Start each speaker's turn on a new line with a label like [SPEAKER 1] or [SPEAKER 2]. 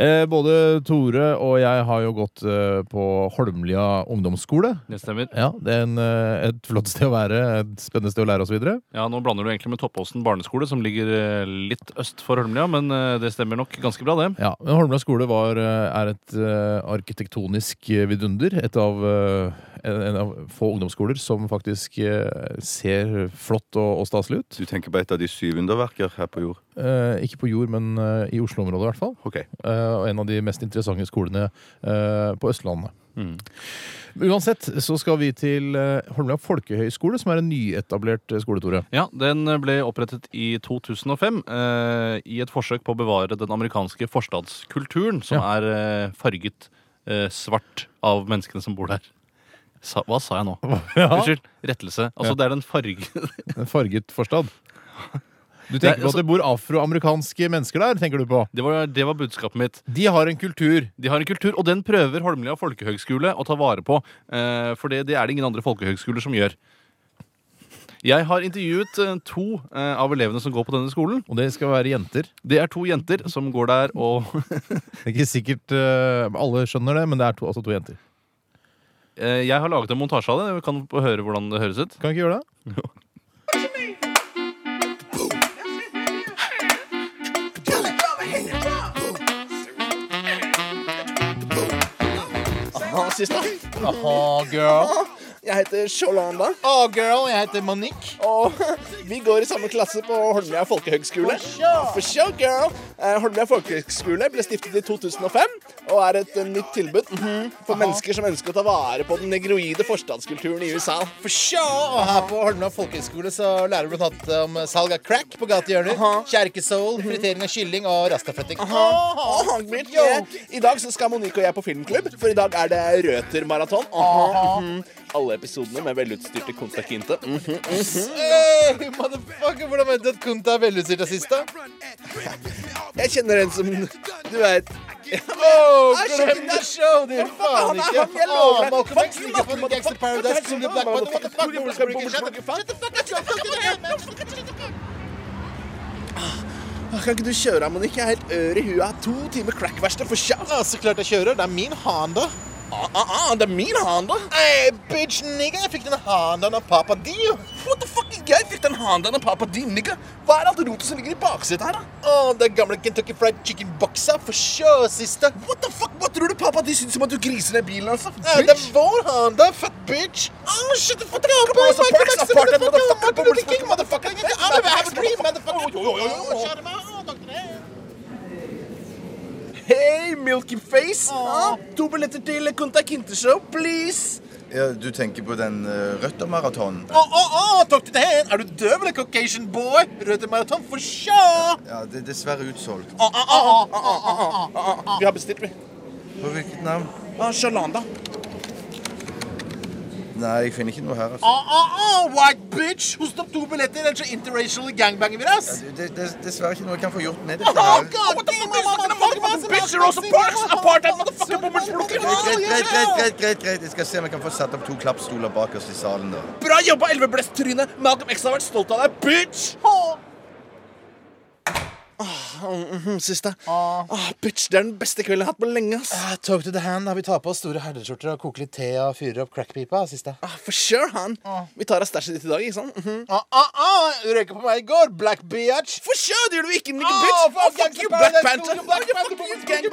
[SPEAKER 1] Eh, både Tore og jeg har jo gått eh, på Holmlia ungdomsskole.
[SPEAKER 2] Det stemmer.
[SPEAKER 1] Ja, det er en, eh, et flott sted å være, et spennende sted å lære osv.
[SPEAKER 2] Ja, Nå blander du egentlig med Toppåsen barneskole, som ligger eh, litt øst for Holmlia, men eh, det stemmer nok ganske bra, det.
[SPEAKER 1] Ja, men Holmlia skole var, eh, er et eh, arkitektonisk eh, vidunder. Et av, eh, en, en av få ungdomsskoler som faktisk eh, ser flott og, og staselig ut.
[SPEAKER 3] Du tenker på et av de syv underverker her på jord?
[SPEAKER 1] Eh, ikke på jord, men eh, i Oslo-området i hvert fall.
[SPEAKER 3] Ok.
[SPEAKER 1] Eh, og en av de mest interessante skolene eh, på Østlandet. Uansett så skal vi til eh, Holmlia folkehøgskole, som er en nyetablert eh, skole, Tore.
[SPEAKER 2] Ja, Den eh, ble opprettet i 2005 eh, i et forsøk på å bevare den amerikanske forstadskulturen, som er eh, farget eh, svart av menneskene som bor der. Sa, hva sa jeg nå? Unnskyld. Rettelse. Altså,
[SPEAKER 1] Ja.
[SPEAKER 2] det er den farge...
[SPEAKER 1] En farget forstad. altså- Du
[SPEAKER 2] Nei,
[SPEAKER 1] tenker på at det bor afroamerikanske mennesker der, tenker du på.
[SPEAKER 2] Det var, det var budskapet mitt.
[SPEAKER 1] De har en kultur.
[SPEAKER 2] De har en kultur, og den prøver Holmlia folkehøgskole å ta vare på. eh, For det, det er det ingen andre folkehøgskoler som gjør. Jeg har intervjuet eh, to eh, av elevene som går på denne skolen.
[SPEAKER 1] Og det skal være jenter.
[SPEAKER 2] Det er to jenter som går der og
[SPEAKER 1] Det er ikke sikkert eh, alle skjønner det, men det er to, altså to jenter.
[SPEAKER 2] Eh, Jeg har laget en montasje av det. Vi kan få høre hvordan det høres ut.
[SPEAKER 1] Kan vi ikke gjøre det?
[SPEAKER 4] Jeg heter Sjolanda. Oh, girl, jeg heter Monique. Og vi går i samme klasse på Holmlia folkehøgskole. For sure, girl. Eh, Holmlia folkehøgskole ble stiftet i 2005 og er et eh, nytt tilbud mhm, for mennesker som ønsker å ta vare på den negroide forstadskulturen i USA. For sure.
[SPEAKER 5] Og her på Holmlia folkehøgskole så lærer du blant annet om salg av crack på gatehjørner, kjerkesoul, fritering av kylling og rastafletting.
[SPEAKER 4] Aha, Britt, eh, I dag så skal Monique og jeg på filmklubb, for i dag er det røtermaraton. Aha, mhm. Alle episodene med velutstyrte kontakinte. Mhm.
[SPEAKER 5] Hey, motherfucker, hvordan mente du at Kunta er velutstyrt rasist, da?
[SPEAKER 4] Jeg kjenner en som Du vet
[SPEAKER 5] Oh,
[SPEAKER 4] Ah,
[SPEAKER 5] glem
[SPEAKER 4] shit,
[SPEAKER 5] det show, din faen
[SPEAKER 4] han er-
[SPEAKER 5] ikke!
[SPEAKER 4] han- jeg
[SPEAKER 5] Ah,
[SPEAKER 4] lover deg.
[SPEAKER 5] Malcolm X,
[SPEAKER 4] Fuck you,
[SPEAKER 5] Nigga from
[SPEAKER 4] Malcolm,
[SPEAKER 5] Gangster
[SPEAKER 4] fuck-
[SPEAKER 5] Paradise,
[SPEAKER 4] fuck-
[SPEAKER 5] from the Black
[SPEAKER 4] fuck-
[SPEAKER 5] Motherfucker, fuck-
[SPEAKER 4] fuck-
[SPEAKER 5] fuck- fuck-
[SPEAKER 4] fuck- fuck-
[SPEAKER 5] fuck- Shut the fuck up, shut the fuck up, man.
[SPEAKER 4] Kan ikke du kjøre av, Monique? Jeg er helt ør i huet. Jeg har To timer crackverksted for sjau.
[SPEAKER 5] Ja, Så klart jeg kjører. Det er min Honda.
[SPEAKER 4] Ah, ah, ah, det er min Honda.
[SPEAKER 5] Hey, bitch, nigga, jeg fikk den Hondaen av pappa Dio.
[SPEAKER 4] What the fuck? Jeg fikk den Hondaen av pappa din, nigga. Hva er alt rotet som ligger i baksetet her, da?
[SPEAKER 5] Åh, den gamle Kentucky Fried Chicken-boksa for show, siste.
[SPEAKER 4] What the fuck? Hva tror du pappa din syns om at du griser ned bilen hans?
[SPEAKER 5] Ja, det er vår Honda, fat bitch.
[SPEAKER 4] Oh, shit, the fuck
[SPEAKER 5] Dra
[SPEAKER 4] up,
[SPEAKER 5] på
[SPEAKER 4] boys,
[SPEAKER 5] Michael
[SPEAKER 4] parks
[SPEAKER 5] Jackson,
[SPEAKER 4] apart,
[SPEAKER 5] motherfucker,
[SPEAKER 4] motherfucker,
[SPEAKER 5] Martin Luther King, motherfucker.
[SPEAKER 4] motherfucker. That's
[SPEAKER 5] I'm have
[SPEAKER 4] the
[SPEAKER 5] a
[SPEAKER 4] facts,
[SPEAKER 5] dream,
[SPEAKER 4] motherfucker.
[SPEAKER 5] motherfucker.
[SPEAKER 4] Oi, oi, oi, oi.
[SPEAKER 5] Kjære meg, å, doktor.
[SPEAKER 4] Hey, Milky Face. Ah, to billetter til Kunta Kinte-show, please.
[SPEAKER 3] Ja, du tenker på den uh, Røtter-maratonen?
[SPEAKER 5] Å, å, å, Dr. Dehn, er du døv eller Caucasian boy? Røde maraton for show!
[SPEAKER 3] Ja, det er dessverre utsolgt.
[SPEAKER 5] Ah,
[SPEAKER 4] Vi har bestilt, vi.
[SPEAKER 3] På hvilket navn?
[SPEAKER 4] Ah, Shalanda.
[SPEAKER 3] Nei, jeg finner ikke noe her,
[SPEAKER 5] Å,
[SPEAKER 3] altså.
[SPEAKER 5] å, å, Uh, white bitch! Host opp to billetter, ellers så interracial gangbanger vi, ass!
[SPEAKER 3] Det, det, det er dessverre ikke noe jeg kan få gjort med
[SPEAKER 5] Å, Oh,
[SPEAKER 3] dette
[SPEAKER 5] god
[SPEAKER 3] her.
[SPEAKER 5] damn,
[SPEAKER 4] Bitch, Rosa Parks, apartheid, motherfucker,
[SPEAKER 3] Greit,
[SPEAKER 5] ah,
[SPEAKER 3] greit, greit, greit, greit, greit. Jeg skal se om jeg kan få satt opp to klappstoler bakerst i salen, da.
[SPEAKER 4] Bra jobba, Elveblest-tryne! Malcolm X har vært stolt av deg, bitch! Ah, mhm, Siste. Ah, bitch, det er den beste kvelden jeg har hatt på lenge. ass.
[SPEAKER 5] Talk to the hand, da vi tar på oss store herreskjorter og koker litt te og fyrer opp crackpipa, siste. Å,
[SPEAKER 4] Ah, for sure, han. Vi tar av stæsjet ditt i dag, ikke sant? Mhm.
[SPEAKER 5] å, å, Ah, du røyka på meg i går, black bitch!
[SPEAKER 4] For sure, det gjør du ikke, nigga
[SPEAKER 5] Ah,
[SPEAKER 4] bitch!
[SPEAKER 5] fuck
[SPEAKER 4] Ah, fuck
[SPEAKER 5] Gangsta
[SPEAKER 4] you,
[SPEAKER 5] Paradise,
[SPEAKER 4] Black
[SPEAKER 5] fuck
[SPEAKER 4] Panther!
[SPEAKER 5] you, Black
[SPEAKER 4] Ah,
[SPEAKER 5] Panther,
[SPEAKER 4] fuck you, Ah,
[SPEAKER 5] fuck you,